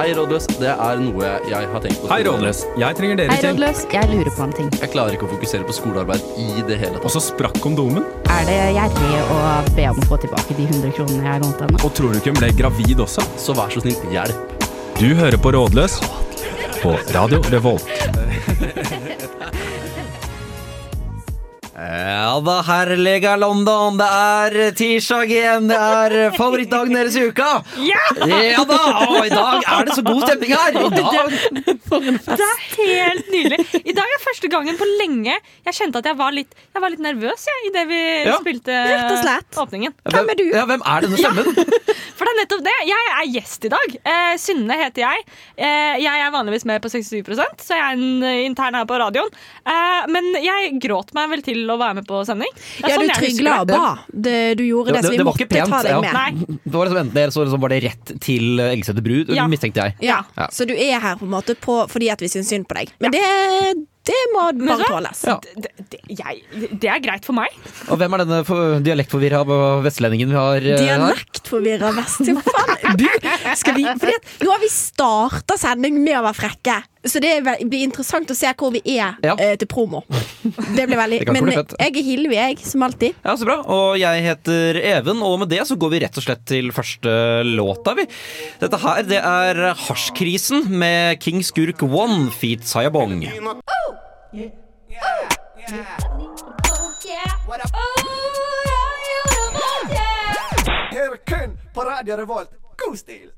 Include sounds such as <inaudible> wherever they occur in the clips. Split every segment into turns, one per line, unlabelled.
Hei, rådløs. Det er noe jeg har tenkt på.
Hei, Rådløs. Jeg trenger
Hei,
deres hjelp.
rådløs. Jeg lurer på en ting.
Jeg klarer ikke å fokusere på skolearbeid i det hele
Og
tatt.
så sprakk kondomen.
Er det gjerrig å be om å få tilbake de 100 kronene jeg har lånt henne?
Og tror du ikke hun ble gravid også?
Så vær så snill, hjelp.
Du hører på Rådløs på Radio Revolt.
Ja da, herlige London, det er tirsdag igjen. Det er favorittdagen deres i uka. Ja! da, og i dag er det så god stemning her. I dag,
Det er helt
<laughs>
nydelig. I dag er første gangen på lenge jeg kjente at jeg var litt, jeg var litt nervøs jeg, idet vi
Ja.
spilte
og slett.
åpningen.
hvem, er ja, hvem er denne stemmen?
For det er nettopp det. Jeg er gjest i dag. Eh, Synne heter jeg. Eh, jeg er vanligvis med på 67 så jeg er en eh, intern her på radioen. Eh, men jeg gråt meg vel til å være med på sending. Det er
Ja,
sånn
du
jeg husker
trygla og
det.
ba. Det, du gjorde det,
Det-
så vi
det var
måtte
ikke pent,
ta deg
ja.
med.
Nei.
Det var liksom enten dere, så liksom var det rett til eh, Elgeseter Brud,
Ja.
mistenkte jeg.
Ja.
Ja.
Så du er her på en måte på, fordi at vi syns synd på deg. Men det, det må
Men
bare
hva?
tåles. Eh,
Ja.
Det, det, jeg, det er greit for meg.
Og hvem er denne for- dialektforvirra vestlendingen vi har eh, her?
Dialektforvirra vest. Jo, <laughs> faen, du, skal vi, fordi at, nå har vi starta sending med å være frekke, så det er vel- blir interessant å se hvor vi er
Ja.
eh, til promo. Det blir veldig
<laughs> Det kan
Men
bli
eh,
fett.
jeg er Hilvi, jeg, som alltid.
Ja, så bra. Og jeg heter Even, og med det så går vi rett og slett til første låta, vi. Dette her, det er Hasjkrisen med King Skurk One feat Sayabong.
Her kun på Radio Revolt. God stil!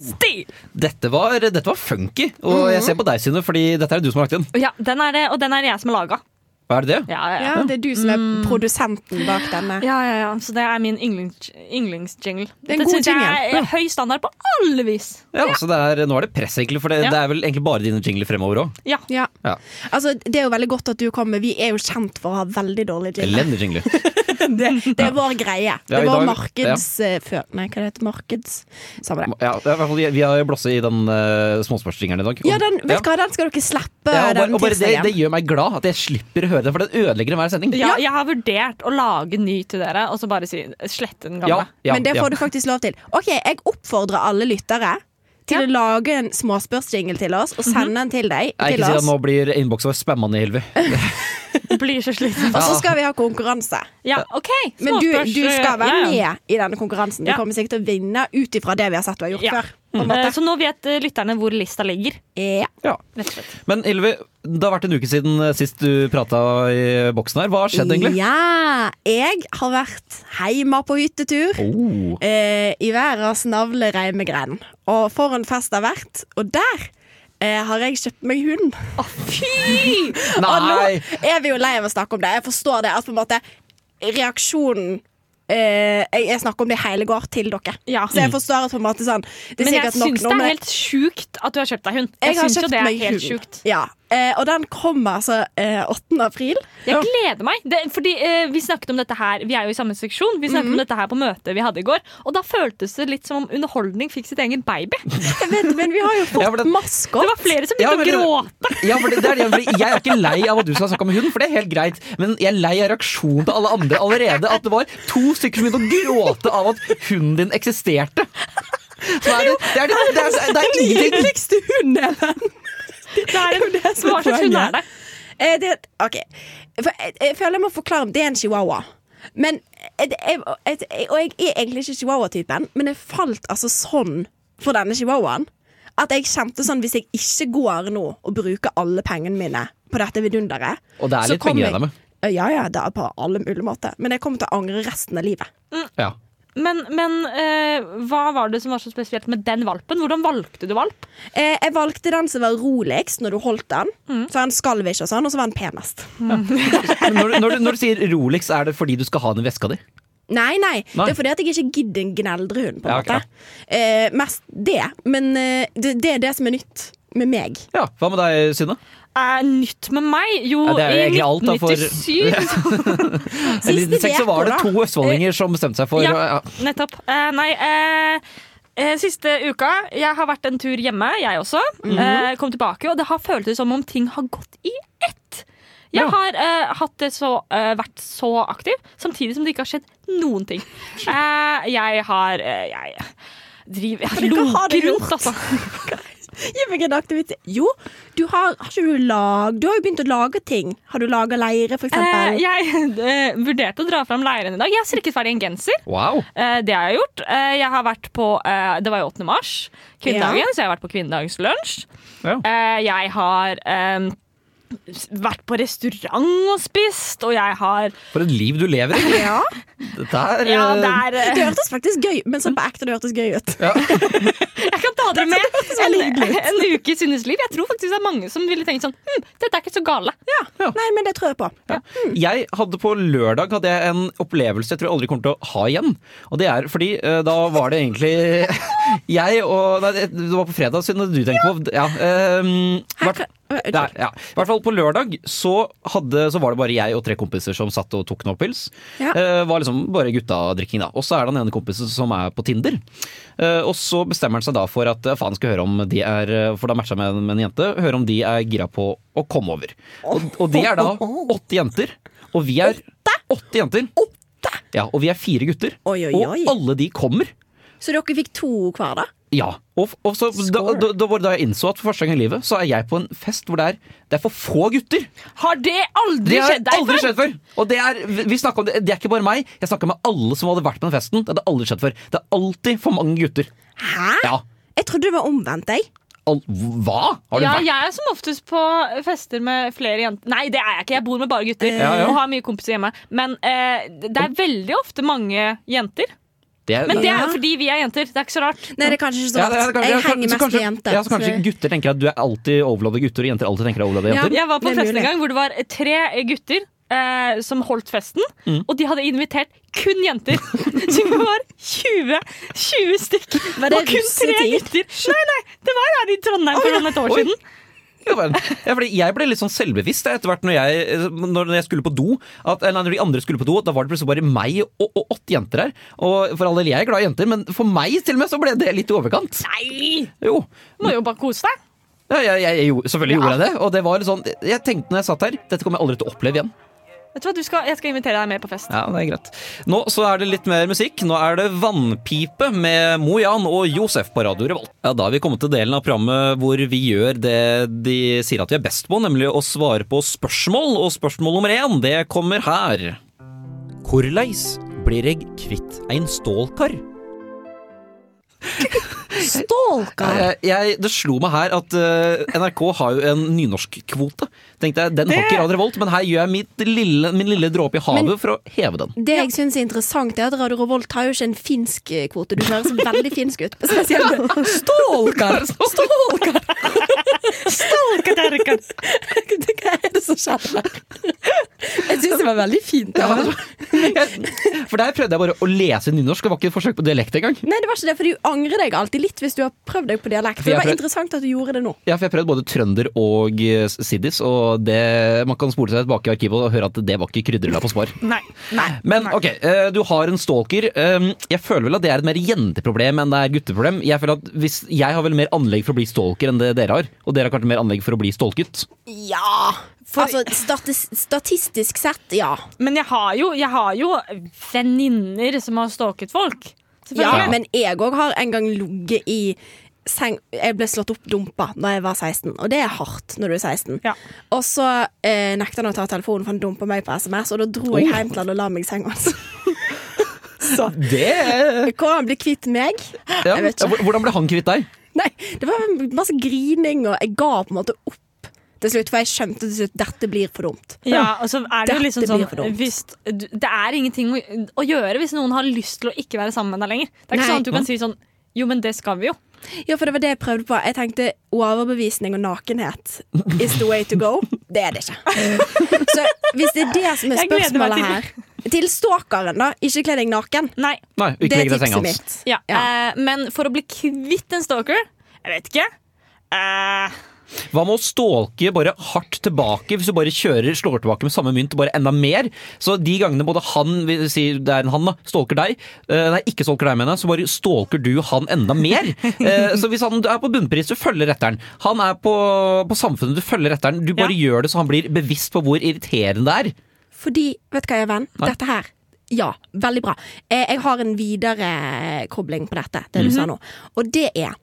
Stil!
Dette var, dette var funky, og jeg ser på deg, Synne, fordi dette er det du som har lagt inn.
Ja, den er det, og den er det jeg som har laga.
Hva er det? det?
Ja, ja, ja.
Ja, Mm. det er du som er produsenten bak denne.
Ja, ja, ja. Så det er min yndlings- yndlingsjingle.
er en
Dette
god
synes jeg
jingle.
er høy standard på alle vis.
Ja, så det er, Nå er det press, egentlig, for det,
Ja.
det er vel egentlig bare dine jingler fremover òg.
Ja.
Ja.
Ja.
Altså, det er jo veldig godt at du kommer. Vi er jo kjent for å ha veldig dårlig jingle.
Elendige jingler.
Det, det er vår greie. Det er
Mm. Ja, i dag-
vår markeds... eh, før- Nei, hva det heter markeds... Samme det.
Ja, det er i hvert fall, vi har blåst i den uh, småsportsjingeren i dag.
Ja, den, vet
Ja.
du hva, den skal dere slippe
Ja, og bare,
den
og bare det,
tirsdagen.
det gjør meg glad at jeg slipper å høre den, for den ødelegger enhver sending.
Ja, jeg har vurdert å lage ny til dere, og så bare si, slette den gamle.
Men det får du faktisk lov til. Ok, jeg oppfordrer alle lyttere til
Ja.
å lage en småspørsjingle til oss og sende den til deg.
Nei,
Til
Mhm. ikke si at
oss.
nå blir innboksen vår spammende, Hilvi.
Blir så sliten.
Og så skal vi ha konkurranse.
Ja, OK.
Men du,
småspørs-
du skal være
ja, ja.
med i denne konkurransen. Du
Ja.
kommer sikkert til å vinne ut ifra det vi har sett du har gjort
Ja.
før. På en måte.
Eh, Så nå vet eh, lytterne hvor lista ligger.
Ja.
Ja.
Rett og slett.
Men Hilvi, det har vært en uke siden sist du prata i boksen her. Hva har skjedd, egentlig?
Ja, jeg har vært hjemme på hyttetur
Oh.
eh, i verdens navlereimegren. Og for en fest det har vært. Og der eh, har jeg kjøpt meg hund. <laughs> Og nå
Nei!
er vi jo lei av å snakke om det. Jeg forstår det. At på en måte reaksjonen eh, jeg, jeg snakker om det i hele går til dere.
Ja.
Så jeg forstår at på en måte sånn Det er
Men jeg
sikkert nok
syns
nå,
det er
men-
helt sjukt at du har kjøpt deg hund.
jeg
Jeg,
har
synes jo
kjøpt
det er
meg
helt
hund.
sjukt.
Ja. Eh, og den kommer altså eh, 8. april.
Jeg gleder meg. Det, fordi eh, Vi snakket om dette her Vi er jo i samme seksjon. Vi snakket om
Mhm.
dette her på møtet vi hadde i går. Og da føltes det litt som om underholdning fikk sitt egen baby.
Jeg vet, men vi har jo
Ja, for
fått
det-
Det
maskot.
var flere som
Ja,
begynte
men det-
å gråte.
Ja, for det, det er det, fordi jeg er ikke lei av at du skal snakke om hund, for det er helt greit. Men jeg er lei av reaksjonen til alle andre allerede. At det var to stykker som begynte å gråte av at hunden din eksisterte. Så er det, det, er, det, er, det, er, det er ingenting.
Hyggeligste hund jeg har
Det er en,
<laughs> det som er
hva slags hund er
poenget.
det?
Eh, det, ok For jeg, jeg føler jeg må forklare om Det er en chihuahua Men eh, det- jeg, jeg, jeg, Og jeg er egentlig ikke chihuahua-typen Men jeg falt altså sånn For denne chihuahuaen At jeg kjente sånn Hvis jeg ikke går nå Og bruker alle pengene mine På dette vidunderet
Og det er
så
litt
kommer
penger i det med.
jeg- Eh, Ja, ja, det er på alle mulige måter Men jeg kommer til å angre resten av livet
Ja.
Men, men eh, hva var det som var så spesielt med den valpen? Hvordan valgte du valp?
eh, Jeg valgte den som var roligst Når du holdt den
Mm.
Så han skalv ikke og sånn Og så var han penest
Men når, du- når, du, når du sier Rolex, er det fordi du skal ha den i veska di?
Nei, nei,
Nei.
Det er fordi at jeg ikke gidder en gneldrehund, på en
Ja, ok,
måte. Eh, mest det. Men eh, det, det er det som er nytt med meg.
Ja, Hva med deg, Synne?
Er nytt med meg? Jo,
Ja, det er jo egentlig alt, da, for-
i 1997
Eller, I 96 så var det
veka,
to østfoldinger som bestemte seg for
Ja.
ja.
Nettopp. Eh, nei, eh, eh, siste uka Jeg har vært en tur hjemme, jeg også.
Mhm.
eh, kom tilbake, og det har føltes som om ting har gått i ett. Jeg
Ja.
har eh, hatt det så, eh, vært så aktiv, samtidig som det ikke har skjedd noen ting. Eh, jeg har eh, jeg, driver
Men
jeg
du kan ha det
loker
gjort.
rundt, altså.
<laughs>
Gi meg en aktivitet. Jo, du har, har ikke du lag... Du har jo begynt å lage ting. Har du laga leire, for
Eh,
eksempel?
jeg eh, vurderte å dra fram leiren i dag. Jeg har strikket ferdig en genser.
Wow.
Eh, det har jeg gjort. Eh, jeg har vært på eh, Det var jo 8. mars, kvinnedagen,
Ja.
så jeg har vært på kvinnedagslunsj.
Ja.
Eh, jeg har eh, s- vært på restaurant og spist, og jeg har
For et liv du
<laughs>
lever i.
Eh, Ja.
Dette er,
Ja,
eh,
det er eh,
Det hørtes faktisk gøy Men sånn på ekte, det hørtes gøy ut.
Jeg kan <laughs> ta dere med en,
veldig hyggelig
en uke i Synnes liv. Jeg tror faktisk det er mange som ville tenkt sånn hm, Dette er ikke så gale.
Ja.
Nei, men det tror jeg på.
Jeg hadde på lørdag hadde jeg en opplevelse jeg tror jeg aldri kommer til å ha igjen. Og det er fordi eh, da var det egentlig <laughs> jeg og Nei, det det var på fredag siden du tenker på. Ja, ehm, hvert-
Her-
det er- ja. I hvert fall på lørdag så, hadde, så var det bare jeg og tre kompiser som satt og tok noe pils.
Ja.
Eh, var liksom bare guttadrikking da. Og så er det den ene kompisen som er på Tinder. Eh, og så bestemmer han seg da for at eh, faen skal høre om de er eh, For da matcha med, med en jente. Høre om de er gira på å komme over. Og, og de er da åtte jenter. Og vi er åtte jenter. Ja, og vi er fire gutter.
Oi, oi, oi.
Og alle de kommer.
Så dere fikk to hver, da?
Ja. Og, f- og så, da, da, da var det da jeg innså at for første gang i livet så er jeg på en fest hvor det er, det er for få gutter.
Har det aldri
Det har
skjedd deg
aldri
før?
skjedd før! Og det er, vi- vi snakket om det, det er ikke bare meg. Jeg snakka med alle som hadde vært på den festen. Det hadde aldri skjedd før. Det er alltid for mange gutter.
Hæ?
Ja.
Jeg trodde det var omvendt, jeg.
Al hva? Har du
Ja,
vært
jeg er som oftest på fester med flere jenter. Nei, det er jeg ikke. Jeg bor med bare gutter
Ja, ja.
og har mye kompiser hjemme. Men eh, det er veldig ofte mange jenter.
det er-
Men det er
Ja.
jo fordi vi er jenter. Det er ikke så rart.
Nei, det er kanskje ikke så
Ja,
rart.
det er
sånn jeg
kanskje- ja, kanskje-
henger
så
mest
kanskje-
med jenter.
Ja, så kanskje
det-
gutter tenker at du er alltid overlada gutter, og jenter alltid tenker deg overlada
Ja.
jenter.
Jeg var på en
Det er
fest en
mulig.
gang hvor det var tre gutter eh, som holdt festen.
Mm.
Og de hadde invitert kun
<laughs>
jenter. Så vi var 20, 20 stykk.
Var det
og kun tre
russetid?
gutter. Nei, nei, det var her i Trondheim for noen et år
Oi.
siden.
Ja, vel. ja, fordi jeg ble litt sånn selvbevisst etter hvert når jeg, når jeg skulle på do. At, eller når de andre skulle på do, da var det plutselig bare meg og, og åtte jenter her. Og for all del, jeg er glad i jenter, men for meg til og med så ble det litt i overkant.
Nei!
Jo.
Må jo bare kose deg.
Ja, jeg, jeg, jeg, gjorde- selvfølgelig gjorde jeg det. Og det var litt sånn, jeg tenkte når jeg satt her, dette kommer jeg aldri til å oppleve igjen.
Vet du hva, du skal, Jeg skal invitere deg med på fest.
Ja, det er greit. Nå så er det litt mer musikk. Nå er det Vannpipe med Mo Jan og Josef på Radio Revolt. Ja, da er vi kommet til delen av programmet hvor vi gjør det de sier at vi er best på, nemlig å svare på spørsmål. Og spørsmål nummer én, det kommer her. Korleis blir eg kvitt ein stålkar?
Stalker.
Jeg, Eh, jeg, det slo meg her at eh, NRK har jo en nynorskkvote. Tenkte jeg, Den har ikke Radio Revolt, men her gjør jeg mitt lille, min lille dråpe i havet for å heve den.
Det jeg syns er interessant, er at Radio Revolt har jo ikke en finsk eh, kvote. Du høres veldig finsk ut. Spesielt <laughs> Stalker! Stalker! Stalker Hva er det som skjer her? Jeg syns det var veldig fint.
Ja, jeg- <laughs> For der prøvde jeg bare å lese nynorsk, det var ikke et forsøk på dialekt engang.
Nei, det var ikke det, for du angrer deg alltid litt hvis du har prøvd deg på dialekt.
For jeg
Det var
prøv-
interessant at du gjorde det nå.
Ja, for jeg prøvde både trønder og eh, siddis, og det, man kan spole seg tilbake i arkivet og høre at det var ikke krydderlapp og spar.
Nei.
Men ok, eh, du har en stalker. Eh, Jeg føler vel at det er et mer jenteproblem enn det er gutteproblem. Jeg føler at hvis, jeg har vel mer anlegg for å bli stalker enn det dere har, og dere har kanskje mer anlegg for å bli stalket.
Ja! altså, statis statistisk sett, ja.
Men jeg har jo, jeg har jo venninner som har stalket folk.
ja.
Selvfølgelig.
Men jeg òg har en gang ligget i seng Jeg ble slått opp dumpa da jeg var 16, og det er hardt når du er 16.
Ja.
Og så eh, nekta han å ta telefonen, for han dumpa meg på SMS, og da dro jeg hjem til han og la meg i altså. senga hans. så
Det
hvordan han ble kvitt meg
ja.
Jeg vet ikke.
Ja, Hvordan ble han kvitt deg?
Nei, det var masse grining, og jeg ga på en måte opp til slutt, for jeg skjønte til slutt dette blir for dumt.
Ja, og så er det jo
Dette
liksom
blir for
sånn
dumt.
hvis, du- Det er ingenting å, å gjøre hvis noen har lyst til å ikke være sammen med deg lenger. Det er ikke
Nei.
sånn at du kan si sånn Jo, men det skal vi jo.
Ja, for det var det jeg prøvde på. Jeg tenkte overbevisning og nakenhet is the way to go. Det er
<laughs>
det ikke. Så hvis det er det som er
Jeg gleder meg
spørsmålet her Til stalkeren, da. Ikke kle deg naken.
Nei.
Nei, ikke
Det er
legg deg i senga
tipset
hans.
mitt.
Ja.
Ja.
Eh, men for å bli kvitt en stalker Jeg vet ikke. Eh,
Hva med å stalke bare hardt tilbake, hvis du bare kjører, slår tilbake med samme mynt, bare enda mer? Så de gangene både han, vi sier det er en han da, stalker deg, eh, nei, ikke stalker deg, mener jeg, så bare stalker du han enda
<laughs>
mer. Eh, så hvis han er på bunnpris, du følger etter han. Han er på, på samfunnet, du følger etter han. Du bare gjør det så han blir bevisst på hvor irriterende det er.
Fordi, vet du hva, jeg venn? Dette her Ja, veldig bra. Eh, Jeg har en viderekobling på dette, det du sa
Mhm.
nå. Og det er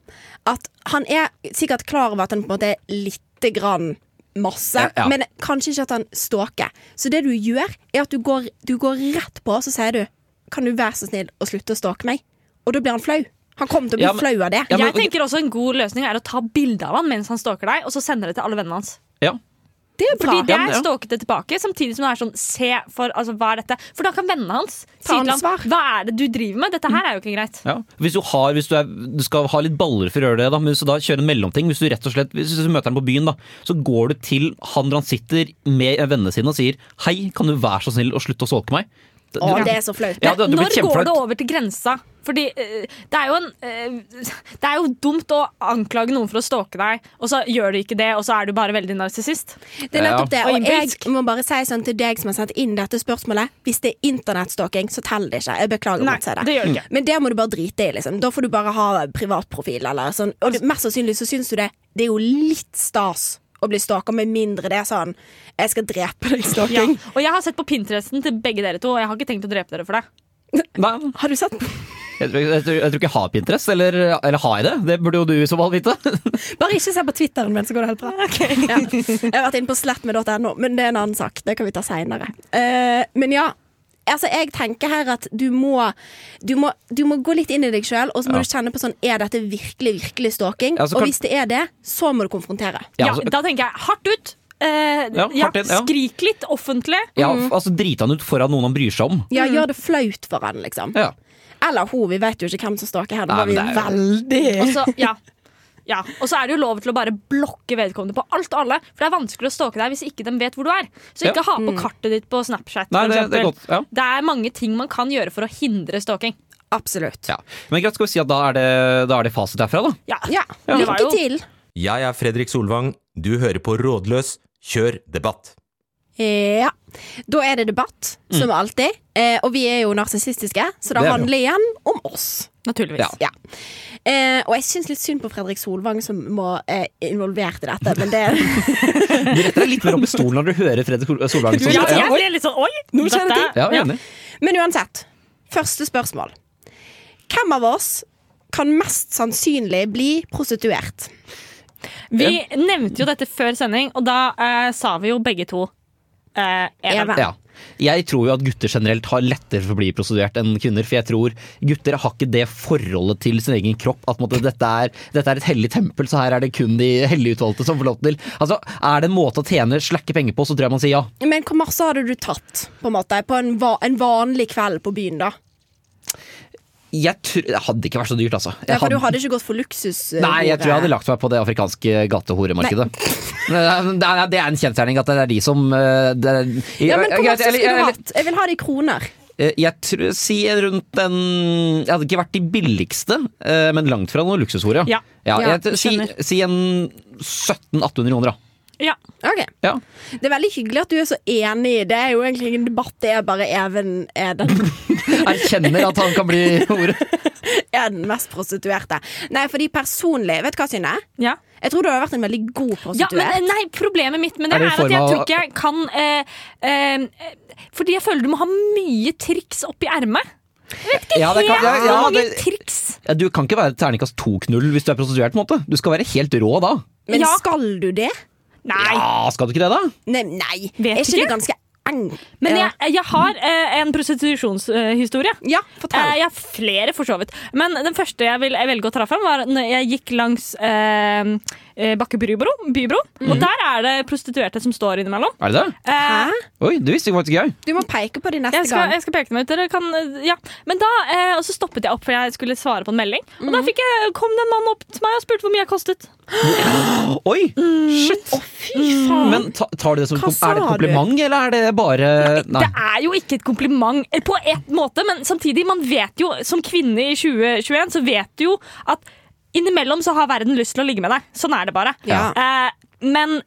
at han er sikkert klar over at han på en måte er lite grann masse,
Ja, ja.
men kanskje ikke at han stalker. Så det du gjør, er at du går, du går rett på, så sier du Kan du være så snill å slutte å stalke meg? Og da blir han flau. Han kommer til å bli
Ja, men-
flau av det.
Ja, men-
jeg tenker også En god løsning er å ta bilde av han mens han stalker deg, og så sende det til alle vennene hans.
Ja.
Det er bra.
Fordi det
men
er
det-
stalkete tilbake, samtidig som det er sånn Se for altså, hva er dette? For da kan vennene hans si til ham
ansvar.
hva er det du driver med. Dette her er jo ikke greit.
Ja. Hvis, du har, hvis du, er, du skal ha litt baller for å gjøre det, da, men hvis du da kjører en mellomting Hvis du rett og slett hvis du møter han på byen, da, så går du til han der han sitter med vennene sine og sier Hei, kan du være så snill å slutte å solke meg? Det-
Å,
du-
det er så flaut.
Ja, det hadde
Når
blitt
går det
kjempeflaut.
over til grensa? Fordi eh, det er jo en eh, Det er jo dumt å anklage noen for å stalke deg, og så gjør du ikke det, og så er du bare veldig narsissist.
Det er nettopp det.
Og
Og
innbilsk.
jeg må bare si sånn til deg som har sendt inn dette spørsmålet. Hvis det er internettstalking, så teller det ikke. Jeg beklager.
Nei,
om jeg sier
det gjør det ikke.
Men det må du bare drite i. liksom Da får du bare ha privatprofil. Eller sånn.
Altså-
Og det, mest sannsynlig så syns du det Det er jo litt stas å bli stalka, med mindre det er sånn Jeg skal drepe deg,
Ja.
stalking.
Og jeg har sett på Pinteresten til begge dere to, og jeg har ikke tenkt å drepe dere for det.
Nei,
Har du sett på?
jeg, tror- jeg, tror- jeg tror ikke jeg har Pinterest, eller, eller har jeg det? Det burde jo du i så fall vite. <laughs>
Bare ikke se på Twitteren min, så går det helt
<laughs>
bra. Ja. Jeg har vært inne på slettmed.no, men det er en annen sak. Det kan vi ta seinere. men ja. Altså, jeg tenker her at du må, du må, du må gå litt inn i deg sjøl, og så må
Ja.
du kjenne på sånn Er dette virkelig virkelig stalking?
Ja, så
Og
kan-
hvis det er det, så må du konfrontere.
Ja,
altså-
da tenker jeg hardt ut. Eh,
Ja,
ja,
hardt inn, ja.
Skrik litt offentlig.
Ja, altså Drite han ut foran noen han bryr seg om.
Ja,
Mm.
Gjør det flaut for han, liksom.
Ja.
Eller hun. Vi vet jo ikke hvem som stalker her. Da
Nei,
var vi
men det er
veldig
Og så, ja. Ja. Og så er det jo lov til å bare blokke vedkommende på alt og alle. For det er vanskelig å stalke deg hvis ikke de vet hvor du er. Så
Ja. Mm.
ikke ha på kartet ditt på Snapchat. for
Nei, det, det er
eksempel.
godt. Ja.
det er mange ting man kan gjøre for å hindre stalking.
Absolutt.
Ja. Men greit, skal vi si at da er det, da er det fasit herfra, da.
Ja.
Ja.
Ja. Det var
Lykke
jo-
til.
Jeg er Fredrik Solvang, du hører på Rådløs, kjør debatt.
Ja. Da er det debatt, som alltid. Eh, og vi er jo narsissistiske, så det
Mm. Det er vi.
handler igjen om oss.
Naturligvis.
Ja.
Ja. Eh, og jeg syns litt synd på Fredrik Solvang, som må eh, involvert i dette. Men det,
<laughs> Du retter deg litt mer opp i stolen når du hører Fredrik Sol- Solvang. som-
Ja,
ja.
jeg ble litt sånn oi!
Nå kjenner jeg
Ja, jeg er enig.
men uansett. Første spørsmål. Hvem av oss kan mest sannsynlig bli prostituert?
Vi nevnte jo dette før sending, og da eh, sa vi jo begge to eh, Even.
Even.
Ja. Jeg tror jo at gutter generelt har lettere for å bli prostituert enn kvinner. For jeg tror gutter har ikke det forholdet til sin egen kropp at på en måte, dette, er, dette er et hellig tempel, så her er det kun de hellig utvalgte som får lov til. Altså, Er det en måte å tjene slakke penger på, så tror jeg man sier ja.
Men hvor masse hadde du tatt på en måte På en, va en vanlig kveld på byen, da?
Jeg tror, Det hadde ikke vært så dyrt, altså.
Ja,
Jeg
for du
hadde-
hadde ikke gått for luksus? eh,
Nei, jeg
hore.
tror jeg hadde lagt meg på det afrikanske gatehoremarkedet. <laughs> Det er, det er en kjensgjerning at det er de som eh, det er,
ja, men Hvor
Greit,
masse skulle
eller-
du
eller-
hatt? Jeg vil ha det i kroner.
Eh, Jeg tror, si rundt en Jeg hadde ikke vært de billigste, eh, men langt fra noe luksushore.
Ja.
Ja,
jeg, tror- si,
skjønner.
si en 1700-1800 kroner, da.
Ja.
Ok
Ja.
Det er veldig hyggelig at du er så enig. Det er jo egentlig ingen debatt, det er bare Even er den,
<laughs>
Erkjenner at han kan bli hore.
er den mest prostituerte. Nei, fordi personlig Vet du hva, Synne?
Ja.
Jeg tror du har vært en veldig god
Ja,
prostituert.
men eh, nei, Problemet mitt med det
Er
er,
det i
at
form
jeg
av-
tror ikke jeg kan eh, eh, eh, Fordi jeg føler du må ha mye triks oppi ermet.
Ja, det kan, ja,
Helt
ja,
mange
det,
triks.
ja, du kan ikke være terningkast 2-knull hvis du er prostituert. på en måte Du skal være helt rå da.
Men
Ja.
skal du det?
Nei.
Ja, Skal du ikke det, da?
Nei. nei.
Vet
er ikke
ikke.
det ganske enkelt?
Men jeg, jeg har eh, en prostitusjonshistorie.
Ja,
Eh,
fortell.
jeg har flere, for så vidt. Men den første jeg vil jeg velge å ta fram, var når jeg gikk langs eh, eh, Bakke bybro. bybro Og der er det prostituerte som står innimellom.
Er det det?
Eh,
Mm. Hæ?
Oi, det visste jeg faktisk ikke jeg.
Du må peke på de neste
jeg skal,
gang.
jeg skal peke dem ut. Dere kan, ja. Men da, eh, og så stoppet jeg opp, for jeg skulle svare på en melding. Og
Mm.
da fikk jeg, kom det en mann opp til meg og spurte hvor mye jeg kostet.
Oi,
Mm.
shit!
Fy faen.
Men ta, tar du det som
Hva
kom,
sa
Er det et
du?
kompliment, eller er det bare Nei.
Det er jo ikke et kompliment eh, på ett måte, men samtidig, man vet jo, som kvinne i 2021, så vet du jo at innimellom så har verden lyst til å ligge med deg. Sånn er det bare.
Ja.
Eh, men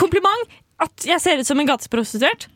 kompliment at jeg ser ut som en gateprostituert,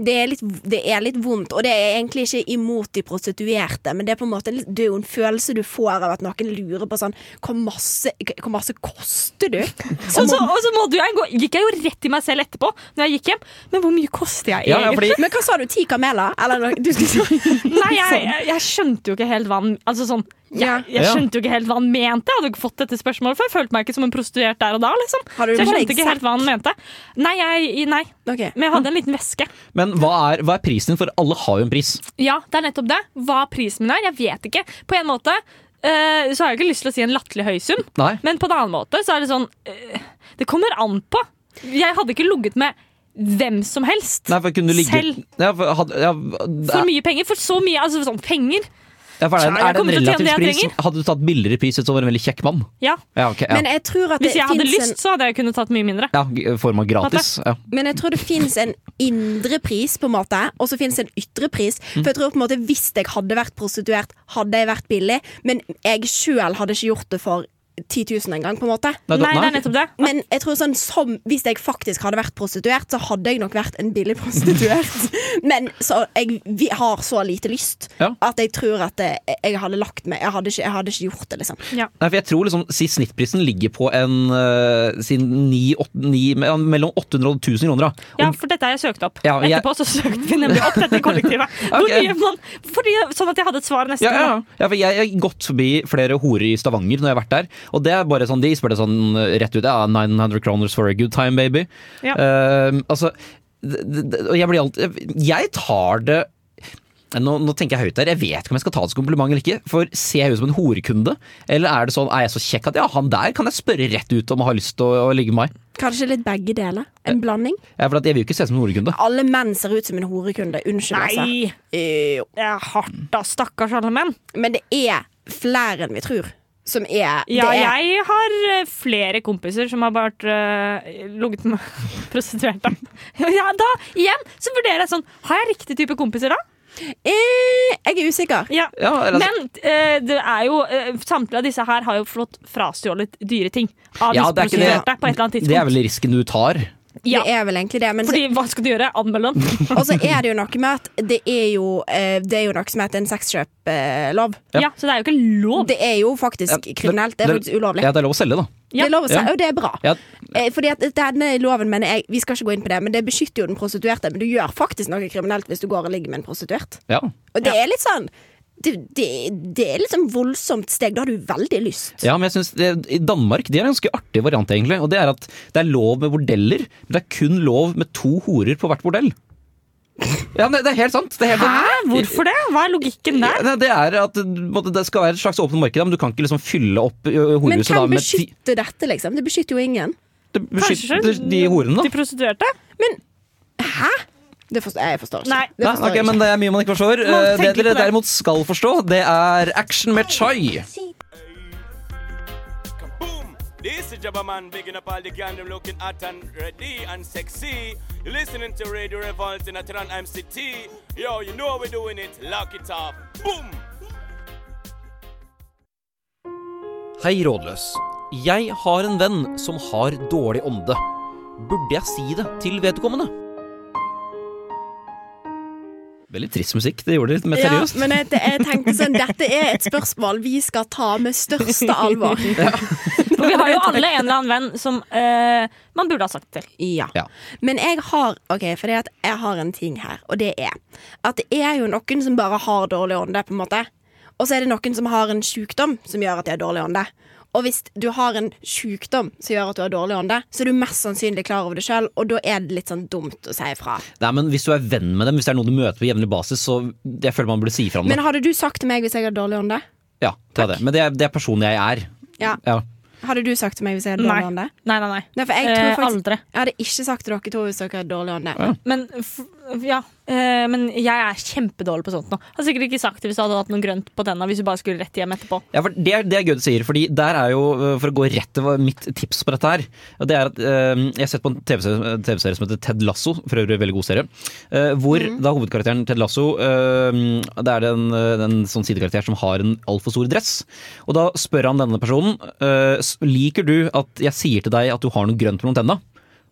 Det er, litt, det er litt vondt, og det er egentlig ikke imot de prostituerte, men det er på en måte en litt- det er jo en følelse du får av at noen lurer på sånn Hvor masse, hvor masse koster
<laughs>
du? Sånn
Og så, og så måtte jeg gå, gikk jeg jo rett i meg selv etterpå. Når jeg gikk hjem Men hvor mye koster jeg
Ja, ja,
egentlig?
fordi
Men hva sa du? Ti kameler? Eller noe? Du skulle si Sånn.
Nei,
Sånn.
jeg, jeg, jeg skjønte jo ikke helt hva han Altså sånn jeg, jeg
Ja.
skjønte jo ikke helt hva han mente. Jeg hadde jo ikke fått dette spørsmålet før. Jeg følte meg ikke som en prostituert der og da. liksom
Har du
Så jeg
med deg
skjønte ikke helt hva han mente. Nei, jeg, nei,
Ok.
men jeg hadde en liten veske.
Men hva er, hva er prisen? For alle har jo en pris.
Ja, det er nettopp det. Hva prisen min er, jeg vet ikke. På en måte eh, så har jeg ikke lyst til å si en latterlig høy sum,
Nei.
men på en annen måte så er det sånn eh, Det kommer an på. Jeg hadde ikke ligget med hvem som helst.
Nei, for kunne du ligge
Selv.
Ja, for, hadde, ja,
For mye penger. For så mye altså sånn penger.
ja, for er, det en-
Kjære,
er det en
kommer til å tjene det
relativ
jeg
pris?
trenger.
Hadde du tatt billigere pris hvis du var en veldig kjekk mann?
Ja.
Ja, ok. Ja.
Men jeg tror at det
Hvis jeg hadde
finnes en-
lyst, så hadde jeg kunnet tatt mye mindre.
ja g- Form av gratis. Ja.
Men jeg tror det fins en indre pris, på en måte, og så fins en ytre pris.
Mm.
For jeg tror på en måte Hvis jeg hadde vært prostituert, hadde jeg vært billig, men jeg sjøl hadde ikke gjort det for 10 000 engang, på en måte.
Nei, da-
Nei, det
nei,
er nettopp det.
Men jeg tror sånn som hvis jeg faktisk hadde vært prostituert, så hadde jeg nok vært en billig prostituert.
<laughs>
Men så jeg vi har så lite lyst
Ja.
at jeg tror at det, jeg hadde lagt meg. Jeg hadde ikke, jeg hadde ikke gjort det, liksom.
Nei, for jeg tror liksom, si snittprisen ligger på en eh, si ni, åt, ni, me- mellom 800 og 1000 kroner. Da.
Ja,
Og,
for dette har jeg søkt opp.
Ja, og jeg-
Etterpå så søkte vi nemlig opp dette
<laughs>
kollektivet. Hvor
Ok.
mye man, fordi, sånn at jeg hadde et svar neste
ja, ja,
gang.
ja. ja, for jeg jeg har gått forbi flere horer i Stavanger når jeg har vært der. Og det er bare sånn, de spør det sånn eh, rett ut. Ja, 900 kroners for a good time, baby.
Ja.
Eh, altså, d- d- d- og jeg blir alltid Jeg tar det nå, nå tenker jeg høyt her, jeg vet ikke om jeg skal ta det som kompliment eller ikke. For Ser jeg ut som en horekunde? Eller er det sånn, er jeg så kjekk at ja, han der kan jeg spørre rett ut om han har lyst til å, å ligge med meg?
Kanskje litt begge deler. En
Eh.
blanding.
Ja, for at Jeg vil jo ikke se ut som en horekunde.
Alle menn ser ut som en horekunde. Unnskyld, altså.
Nei,
Eh,
det er hardt da, stakkars alle menn.
Men det er flere enn vi tror. Som er
Ja,
det er,
jeg har eh, flere kompiser som har vært eh, ligget med <laughs> prostituerte. <laughs> Ja, da, igjen, så vurderer jeg sånn, har jeg riktig type kompiser da?
Eh, jeg er usikker.
Ja.
Ja, eller altså-
Men eh, det er jo, eh, samtlige av disse her har jo flott frastjålet dyre ting av
Ja,
disse
det er ikke det.
prostituerte på et eller annet tidspunkt.
Det er vel risken du tar.
Ja,
Det er vel egentlig det. Men
fordi hva skal du gjøre? Anmelde den?
<laughs>
så, og så er det jo noe med at det er jo, eh, det er jo noe som heter en sexkjøplov.
Ja. så det er jo ikke lov.
Det er jo faktisk
Ja,
kriminelt. Det er faktisk ulovlig.
Ja, det er lov å selge, da.
Ja.
Det er lov å si,
Ja.
og det er bra.
Ja,
Eh, Fordi at denne loven mener jeg, Vi skal ikke gå inn på det, men det beskytter jo den prostituerte. Men du gjør faktisk noe kriminelt hvis du går og ligger med en prostituert.
ja.
Og det er litt sånn det, det, det er litt sånn voldsomt steg. Da har du veldig lyst.
ja men jeg synes det, I Danmark de har en ganske artig variant, egentlig. Og det er at det er lov med bordeller, men det er kun lov med to horer på hvert bordell. Ja, men Det er helt sant. Det er helt
Hæ? Hvorfor det? Hva er logikken der?
Ja, det er at på en måte, det skal være et slags åpent marked, da, men du kan ikke liksom fylle opp ø,
Men
horehuset da,
hvem
med ti,
beskytter dette, liksom? Det beskytter jo ingen.
det beskytter
Kanskje
de horene,
De
da.
prostituerte?
Det forstår, jeg forstår ikke.
Nei.
Det
Nei,
forstår
ok,
jeg
men
ikke.
Det er mye man ikke forstår.
Man
Eh, Det
tenker
dere
på det.
derimot skal forstå, det er action med chai.
Boom! This is Jabba Man, bigging up all the gang, them looking hot and ready and sexy. You're listening to Radio Revolt in Atlanta MCT. Yo, you know how we're doing it. Lock it up. Boom!
<laughs> Hei, rådløs. Jeg har en venn som har dårlig ånde. Burde jeg si det til vedkommende?
Veldig trist musikk. Det gjorde det litt mer
Ja,
seriøst.
men jeg, jeg tenkte sånn, Dette er et spørsmål vi skal ta med største alvor.
For vi <laughs> har jo alle en eller annen venn som eh, man burde ha sagt til.
Ja.
<laughs> Ja.
Men jeg har Ok, fordi at jeg har en ting her, og det er at det er jo noen som bare har dårlig ånde, på en måte. Og så er det noen som har en sykdom som gjør at de har dårlig ånde. Og hvis du har en sykdom som gjør at du har dårlig ånde, så er du mest sannsynlig klar over det sjøl, og da er det litt sånn dumt å si ifra.
Nei, men Hvis du er venn med dem, hvis det er noen du møter på jevnlig basis, så jeg føler man burde si ifra om det.
Men hadde du sagt til meg hvis jeg hadde dårlig ånde?
Ja, det er det. Men det er, det er personen jeg er.
Ja.
Ja.
Hadde du sagt til meg hvis jeg hadde
Nei.
dårlig ånde?
Nei, nei, nei.
Nei, for jeg
Eh,
tror faktisk
aldri.
Jeg hadde ikke sagt til dere to hvis dere hadde dårlig ånde.
Men, f ja. eh, men jeg er kjempedårlig på sånt nå. Hadde sikkert ikke sagt det hvis du hadde hatt noe grønt på tenna. Hvis du bare skulle rett hjem etterpå.
Ja, for det, er- det er gøy du sier, fordi der er jo, øh, for å gå rett til hva- mitt tips på dette her og Det er at øh, Jeg har sett på en TV-serie TV-serie som heter Ted Lasso, for øvrig en veldig god serie. øh, Hvor da hovedkarakteren Ted Lasso øh, Det er en, en sånn sidekarakter som har en altfor stor dress. Og da spør han denne personen eh, øh, s- Liker du at jeg sier til deg at du har noe grønt mellom tenna.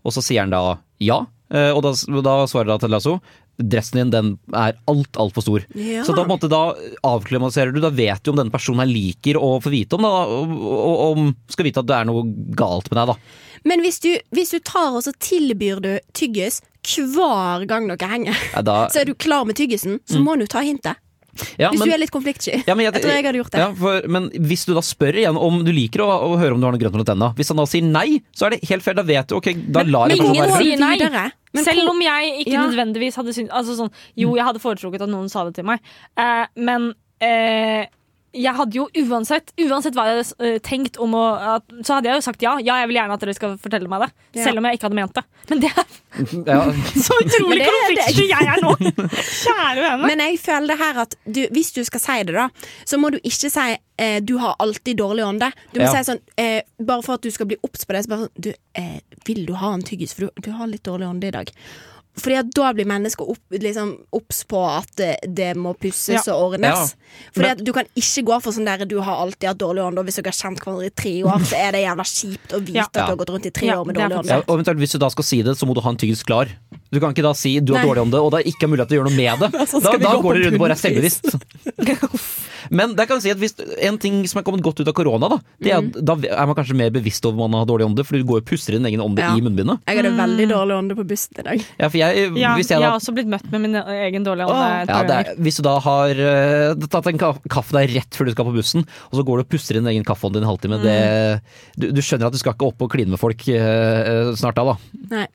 Og så sier han da ja. Eh, og da, da svarer da Ted Lasso dressen din den er alt, altfor stor.
Ja.
Så da, på en måte, da avklimatiserer du. Da vet du om denne personen her liker å få vite om, da, og, og, om skal vite at det er noe galt med deg. da.
Men hvis du, hvis du tar og så tilbyr du tyggis hver gang dere henger,
Ja, da
så er du klar med tyggisen, så må du ta hintet.
Mm. ja,
Hvis
men-
du er litt konfliktsky.
Ja, men
Jeg tror jeg hadde gjort det.
Ja, for, men hvis du da spør igjen om du liker å, å høre om du har noe grønt mellom tenna, hvis han da sier nei, så er det helt fair. Da vet du, ok, da lar jeg
men
personen
ingen
være.
sier nei.
Videre. Men
Selv
hvor-
om jeg ikke
Ja.
nødvendigvis hadde syntes altså sånn, Jo, jeg hadde foretrukket at noen sa det til meg, eh, men eh, jeg hadde jo uansett Uansett hva jeg hadde eh, tenkt om å at, Så hadde jeg jo sagt ja. Ja, jeg vil gjerne at dere skal fortelle meg det.
Ja.
Selv om jeg ikke hadde ment det. Men det er
Ja,
så utrolig
Men det er
konfliktsky jeg er nå! Kjære vene.
Men jeg føler det her at du, hvis du skal si det, da, så må du ikke si eh, 'du har alltid dårlig ånde'. Du må
Ja.
si sånn, eh, bare for at du skal bli obs på det, så bare sånn du, eh, 'Vil du ha en tyggis, for du, du har litt dårlig ånde i dag'. Fordi at da blir mennesker opp, liksom, obs på at eh, det må pusses og ordnes. Fordi
Men-
at du kan ikke gå for sånn der 'du har alltid hatt dårlig ånde', og hvis dere har kjent hverandre i tre år, så er det jævla kjipt å vite
Ja.
at dere
Ja.
har gått rundt i tre
Ja,
år med
det er
dårlig
faktisk
ja,
ånde.
og eventuelt Hvis du da skal si det, så må du ha en tyggis klar. Du kan ikke da si du har
Nei.
dårlig ånde, og det er ikke mulig at du gjør noe med
<laughs>
det.
så
Da,
skal vi
da
gå på
går det rundt og bare er
bunnpris.
<laughs> selvbevisst. Men der kan vi si at hvis, en ting som er kommet godt ut av korona, da, det er,
Mm.
at da er man kanskje mer bevisst over om man har dårlig ånde, for du går og puster din egen ånde
Ja.
i munnbindet.
Jeg hadde veldig dårlig ånde på bussen i dag.
Ja, for jeg,
Ja,
hvis jeg
jeg
da
har
altså,
også blitt møtt med min egen dårlige ånde. et
Ja,
par
det
ganger.
er, hvis du da har eh, tatt en ka kaffe deg rett før du skal på bussen, og så går du og puster inn egen kaffehånd din en halvtime,
Mm.
det, du, du skjønner at du skal ikke opp og kline med folk eh, eh, snart da, da.
Nei.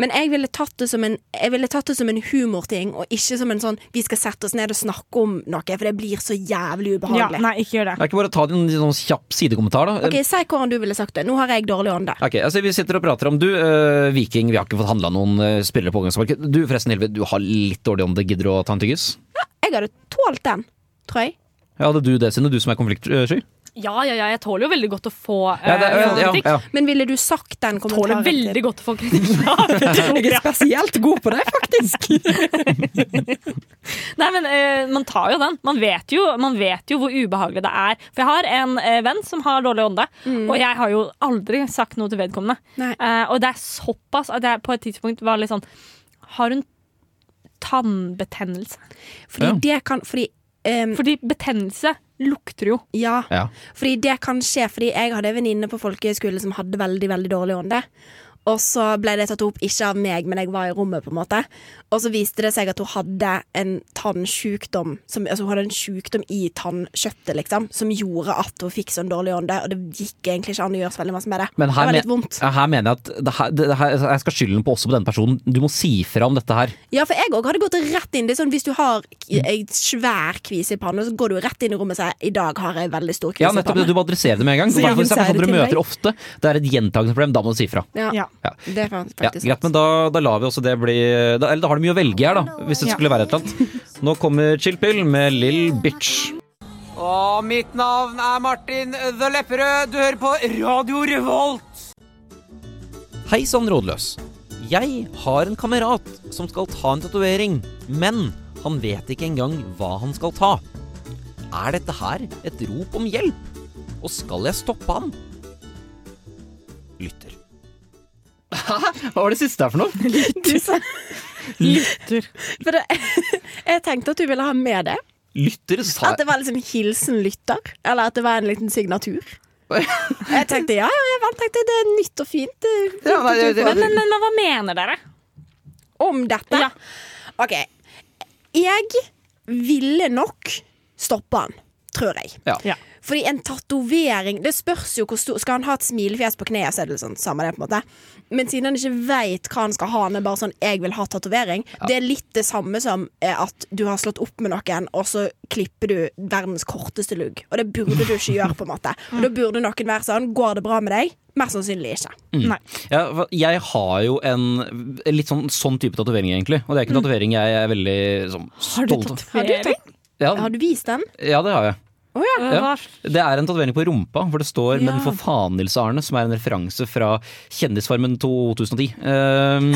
Men jeg ville tatt det som en, jeg ville tatt det som en humorting, og ikke som en sånn 'vi skal sette oss ned og snakke om noe', for det blir så jævlig
ja,
ubehagelig.
nei, ikke gjør det.
Det er ikke bare å ta en sånn kjapp sidekommentar, da.
Ok, Si hvordan du ville sagt det. Nå har jeg dårlig ånde.
Ok, altså Vi sitter og prater om du, eh, Viking, vi har ikke fått handla noen eh, spillere på overgangsmarkedet. Du forresten, Hilve, du har litt dårlig ånde, gidder du å ta en tyggis?
Jeg hadde tålt den, tror jeg.
Ja, hadde du det, Synne, du som er konfliktsky?
Ja, ja, ja, jeg tåler jo veldig godt å få eh,
Ja, det- ja, ja,
kritikk.
ja.
Men ville du sagt den
Tåler
kommentaren?
veldig godt å få kritikk.
<laughs>
Ja,
Jeg er spesielt god på det, faktisk.
Nei, men eh, man tar jo den. Man vet jo, man vet jo hvor ubehagelig det er. For jeg har en eh, venn som har dårlig ånde, og jeg har jo aldri sagt noe til vedkommende.
Nei.
Eh, og det er såpass at jeg på et tidspunkt var litt sånn Har hun tannbetennelse?
Fordi det kan Fordi ehm,
Fordi betennelse lukter jo.
ja.
Ja.
Fordi det kan skje, fordi jeg hadde en venninne på folkehøyskole som hadde veldig, veldig dårlig ånde. Og så ble det tatt opp, ikke av meg, men jeg var i rommet, på en måte. Og så viste det seg at hun hadde en tannsjukdom, som, altså hun hadde en sjukdom i tannkjøttet, liksom, som gjorde at hun fikk sånn dårlig ånde, og det gikk egentlig ikke an å gjøre så veldig masse med det.
Men
det
her,
var
men-
litt vondt.
ja, her mener jeg at det her, det her, altså, jeg skal skylden på også på denne personen. Du må si fra om dette her.
Ja, for jeg òg hadde gått rett inn. Det er sånn, hvis du har
Mm.
k- en svær kvise i pannen, så går du rett inn i rommet og sier 'i dag har jeg en veldig stor kvise
Ja,
i
nettopp det.
pannen'.
Du må adressere det med en gang.
Så
I hvert fall Hvis det er
jeg vil si
personer du
det til deg.
møter ofte, det er et gjentagende problem, da må du si fra.
Ja.
Ja.
Ja.
Det er faktisk
Ja,
sant.
greit, men da, da lar vi også det bli da, Eller da har du mye å velge her, da. Hvis det skulle være et eller annet. Nå kommer Chill Pill med Lill Bitch.
Og mitt navn er Martin The Lepperød. Du hører på Radio Revolt. Hei sann, rådløs. Jeg har en kamerat som skal ta en tatovering, men han vet ikke engang hva han skal ta. Er dette her et rop om hjelp? Og skal jeg stoppe han? Lytter.
Hva var det siste her for noe?
Du sa For det, <laughs> jeg tenkte at du ville ha med det.
Lytter, sa
At det var liksom hilsen lytter. Eller at det var en liten signatur. Jeg tenkte ja, ja, jeg vant. Tenkte, det er nytt og fint. eh, Det er fint
Ja, nei,
at du
jeg-
får
Men, men, men, men hva mener dere?
Om dette.
Ja.
OK. Jeg ville nok stoppe han, tror jeg.
Ja.
Ja.
Fordi en tatovering Det spørs jo hvor stor Skal han ha et smilefjes på kneet, så er det sånn, samme det, på en måte. Men siden han ikke veit hva han skal ha, han er bare sånn 'jeg vil ha tatovering', det er litt det samme som eh, at du har slått opp med noen, og så klipper du verdens korteste lugg. Og det burde du ikke gjøre, på en måte. Og da burde noen være sånn 'går det bra med deg'? Mer sannsynlig ikke.
Nei.
Ja, for jeg har jo en en litt sånn, sånn type tatovering, egentlig. Og det er ikke en tatovering jeg er veldig sånn,
Har du
stolt av.
Mm. Har du,
tatovering?
tatt-
Ja,
har du vist den?
ja, det har jeg.
Hva?
Det er en tatovering på rumpa, for det står
Ja.
'Men for fanelse-Arne', som er en referanse fra Kjendisfarmen 2010. ehm,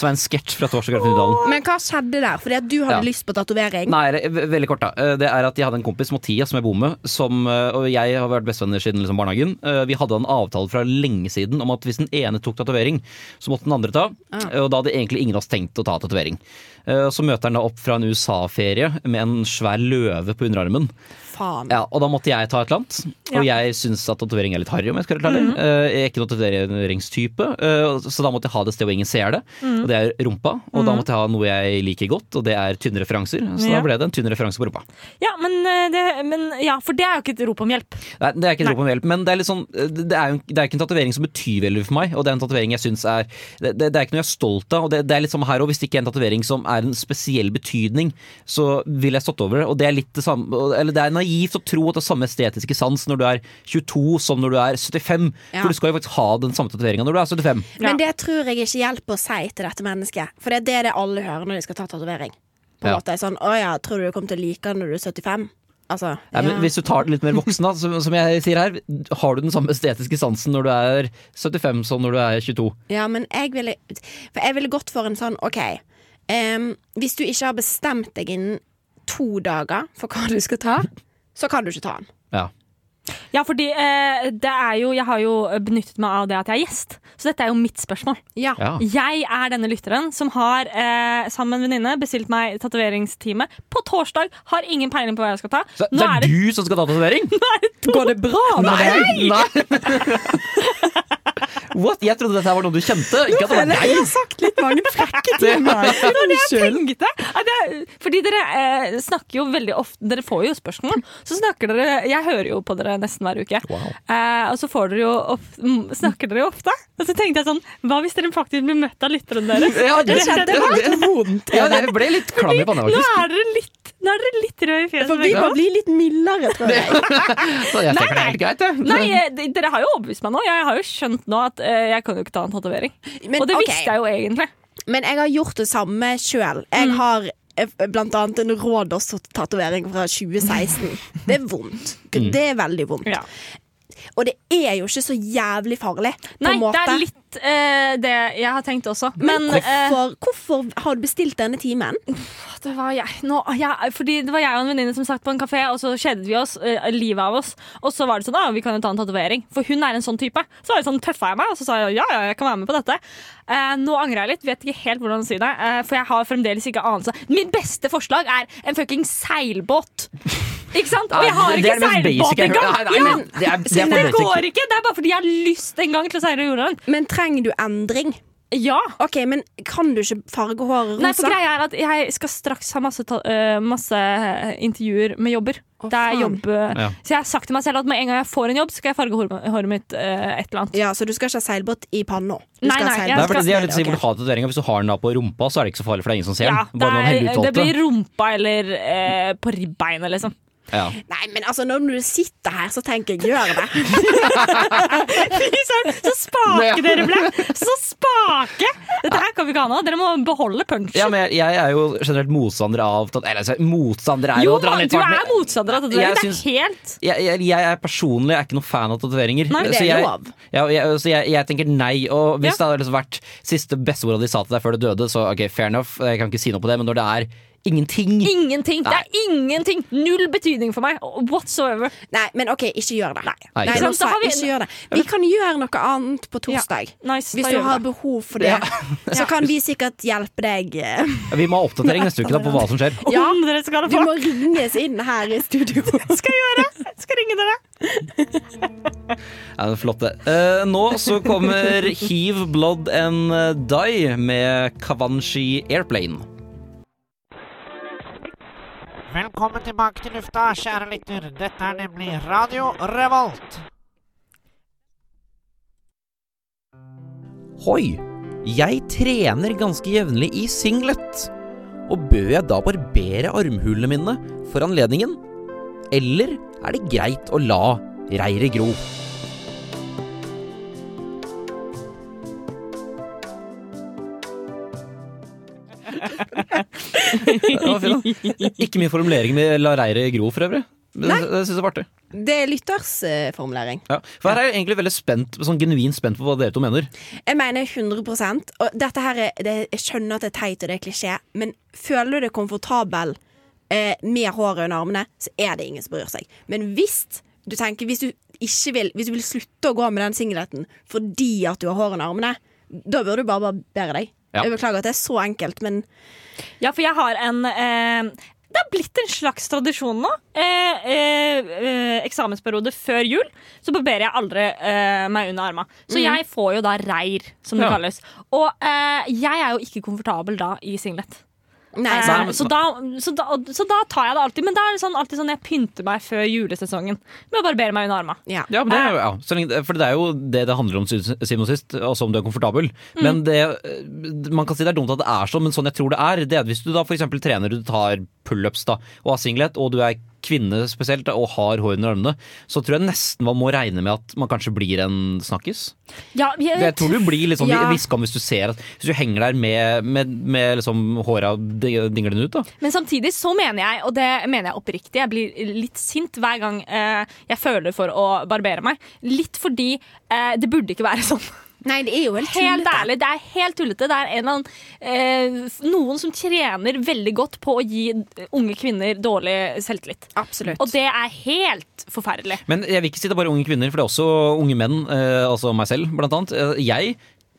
som er en sketsj fra Torsdag kveld i Dalen.
Men hva skjedde der? Fordi at du hadde
Ja.
lyst på tatovering.
Nei, det- ve- veldig kort da Eh, Det er at jeg hadde en kompis, Mathias, som jeg bor med som, eh, Og jeg har vært bestevenner siden liksom, barnehagen Eh, Vi hadde en avtale fra lenge siden Om at hvis den ene tok tatovering Så måtte den andre ta Eh, Og da hadde egentlig ingen av oss tenkt å ta tatovering Eh, Så møter han da opp fra en USA-ferie Med en svær løve på underarmen
Faen.
ja, Og da måtte jeg ta et eller annet. Og jeg syns at tatovering er litt harry. om Jeg skal være helt ærlig. Eh, jeg er ikke noen tatoveringstype, eh, så da måtte jeg ha det et sted hvor ingen ser det. Og det er rumpa. Og da måtte jeg ha noe jeg liker godt, og det er tynne referanser. Så
Ja.
da ble det en tynn referanse på rumpa.
Ja, men, eh, det, men ja, for det er jo ikke et rop om hjelp.
Nei, det er ikke et rop om hjelp, men det er, litt sånn, eh, det er jo det er ikke en tatovering som betyr veldig for meg. Og det er en tatovering jeg synes er det, det, det er ikke noe jeg er stolt av. Og det, det er litt som her også, Hvis det ikke er en tatovering som er en spesiell betydning, så ville jeg stått over det. Og det er litt det samme og- Eller det er naivt å tro at det er samme estetiske sans når du er 22 som når du er 75.
Ja.
For du skal jo faktisk ha den samme tatoveringa når du er 75.
Men det tror jeg ikke hjelper å si til dette mennesket. For det er det det alle hører når de skal ta tatovering. På en
Ja.
måte sånn, Å ja, tror du du kommer til å like den når du er 75? Altså,
Nei, men Hvis du tar det litt mer voksen, da, som, som jeg sier her, har du den samme estetiske sansen når du er 75 som når du er 22?
Ja, men jeg ville For jeg ville gått for en sånn OK. em, hvis du ikke har bestemt deg innen to dager for hva du skal ta, så kan du ikke ta den.
Ja.
Ja, fordi eh, det er jo, jeg har jo benyttet meg av det at jeg er gjest, så dette er jo mitt spørsmål.
Ja.
ja.
Jeg er denne lytteren som har eh, sammen med en venninne bestilt meg tatoveringstime på torsdag. Har ingen peiling på hva jeg skal ta.
Så det
Nå
er
er det
du som skal ta tatovering?
Går det bra med deg?
Nei! What? Jeg trodde dette her var noe du kjente. Ikke at det var
Eller,
deg.
Jeg har sagt litt mange frekke ting her. Unnskyld.
tenkte at jeg, Fordi dere eh, snakker jo veldig ofte Dere får jo spørsmål. Så snakker dere Jeg hører jo på dere nesten hver uke. Eh, og så får dere jo of- mm, snakker dere jo ofte. Og så tenkte jeg sånn Hva hvis dere faktisk blir møtt av lytterne deres?
Ja, det
skjedde
det- det- Ja, jeg ble litt klam i panna,
Nå
faktisk.
er dere litt, nå er dere litt røde i fjeset. liksom.
For vi
begge
må
to.
bli litt mildere, tror jeg.
Så jeg tenker det er helt greit, jeg.
Nei, eh, de- dere har jo overbevist meg nå. Jeg har jo skjønt nå at eh, jeg kan jo ikke ta en tatovering.
Men,
Og det
ok.
visste jeg jo egentlig.
Men jeg har gjort det samme sjøl. Jeg
Mm.
har eh, blant annet en Rådås-tatovering fra
<laughs>
2016. Det er vondt.
Mm.
Det er veldig vondt.
Ja.
Og det er jo ikke så jævlig farlig, på
Nei, det
en måte.
er litt eh, det jeg har tenkt også. Men,
Men
eh,
hvorfor, hvorfor har du bestilt denne timen?
det var jeg. Nå, jeg Fordi det var jeg og en venninne som satt på en kafé, og så kjedet vi oss eh, livet av oss. Og så var det sånn ah, vi kan jo ta en tatovering. For hun er en sånn type. Så var det sånn, tøffa jeg meg, og så sa jeg ja, ja, jeg kan være med på dette. Eh, nå angrer jeg litt, vet ikke helt hvordan å si det. eh, for jeg har fremdeles ikke anelse. Mitt beste forslag er en fucking seilbåt. Ikke sant? Og jeg har
Det er
ikke
det mest basic
seilbåt
jeg
engang!
hører. Nei, nei,
Ja.
men det er- det er
Men
for
det
basic.
går ikke! Det er bare fordi jeg har lyst en gang til å seile jordland.
Men trenger du endring?
Ja.
Ok, men Kan du ikke farge håret
Nei, for
rosa?
greia er at jeg skal straks ha masse, ta øh, masse intervjuer med jobber.
Å,
det er
faen.
jobb, øh,
Ja.
Så jeg har sagt til meg selv at med en gang jeg får en jobb, skal jeg farge håret, håret mitt øh, et eller annet.
ja, Så du skal ikke ha seilbåt i panna? Du
Nei,
skal ha
nei, jeg
Nei,
seilbåt
for det er litt
nede,
sånn, hvor
ok.
du har tatoveringa, Hvis du har den da på rumpa, så er det ikke så farlig, for det er ingen som ser
Ja,
den.
det,
Bare noen
er, det
helutvalgte.
blir rumpa eller øh, på ribbeinet, liksom. <laughs>
Ja.
Nei, men altså, når du sitter her, så tenker jeg gjør det.
Fy søren, så spake dere ble! Så spake! Dette her kan vi ikke ha nå. Dere må beholde punchen.
ja, men jeg, jeg er jo generelt motstander av tat- Eller altså, motstander er jo,
jo,
å dra litt
du
hardt, men-
er motstander av
Jeg
tatovering. Det er
syns-
helt
jeg, jeg, jeg er personlig er ikke noen fan av tatoveringer.
Nei, det
er
så jeg,
lov.
Ja, og jeg, så jeg, jeg tenker nei. Og hvis
Ja.
det hadde liksom vært siste bestemora di sa til deg før du døde, så ok, fair enough, jeg kan ikke si noe på det, men når det er ingenting
ingenting! Det er ingenting! Null betydning for meg whatsoever.
Nei, men OK, ikke gjør det. Nei,
Nei,
nå
ikke
sant.
sa
Da har vi-
jeg, ikke gjør det. Vi kan gjøre noe annet på torsdag.
Nice, da
Hvis
gjør
du
vi
har
det.
behov for det, <laughs> så kan vi sikkert hjelpe deg.
<laughs>
Vi må ha oppdatering neste uke da på hva som skjer.
Ja,
Om dere skal ha
du
folk.
må ringes inn her i studio.
skal jeg gjøre? Skal ringe dere.
Ja, det er flott, det. Eh, nå så kommer Heave Blood and Die med Kavanshi Airplane.
Velkommen tilbake til lufta, kjære lytter. Dette er nemlig Radio Revolt.
Hoi! Jeg trener ganske jevnlig i singlet. Og bør jeg da barbere armhulene mine for anledningen? Eller er det greit å la reiret gro?
<laughs>
Det var fint, da. Ikke min formulering med la reiret gro, for øvrig. Det, det synes jeg var artig.
Det er lyttersformulering.
Ja. For her er jeg egentlig veldig spent, sånn genuint spent på hva dere to mener.
Jeg mener 100 Og dette her er, det, jeg skjønner at det er teit og det er klisjé, men føler du deg komfortabel eh, med håret under armene, så er det ingen som bryr seg. Men hvis du tenker Hvis du ikke vil Hvis du vil slutte å gå med den singleten fordi at du har hår under armene, da burde du bare barbere deg.
Ja.
Jeg beklager at det er så enkelt, men
Ja, for jeg har en eh, Det har blitt en slags tradisjon nå. Eh, eh, eh, eksamensperiode før jul så barberer jeg aldri eh, meg under arma. Så
Mhm.
jeg får jo da reir, som det
Ja.
kalles. Og eh, jeg er jo ikke komfortabel da i singlet.
Nei, sånn,
Eh,
sant.
så, da, så, da, så da tar jeg det alltid. Men da er det sånn, alltid sånn jeg pynter meg før julesesongen med å barbere meg under arma.
Ja, men det er jo, Eh, ja. Så lenge, for det er jo det det handler om, til syvende og sist. Altså om du er komfortabel. Men det, eh, man kan si det er dumt at det er sånn, men sånn jeg tror det er, det er at hvis du da for eksempel trener, du tar pullups da, og har singlet, og du er kvinne spesielt, da, og har hår under armene, så tror jeg nesten man må regne med at man kanskje blir en snakkis.
Ja, jeg,
Jeg tror du blir litt sånn
Ja.
hviska om hvis du ser at Hvis du henger der med, med, med liksom håra dinglende ut, da.
Men samtidig så mener jeg, og det mener jeg oppriktig, jeg blir litt sint hver gang eh, jeg føler for å barbere meg. Litt fordi eh, det burde ikke være <laughs> sånn.
Nei, det er jo helt
Helt
tullete.
ærlig, det er helt tullete. Det er en eller annen, eh, f- noen som tjener veldig godt på å gi unge kvinner dårlig selvtillit.
Absolutt.
Og det er helt forferdelig.
Men jeg vil ikke si det er bare unge kvinner, for det er også unge menn, eh, altså meg selv blant annet. Eh, Jeg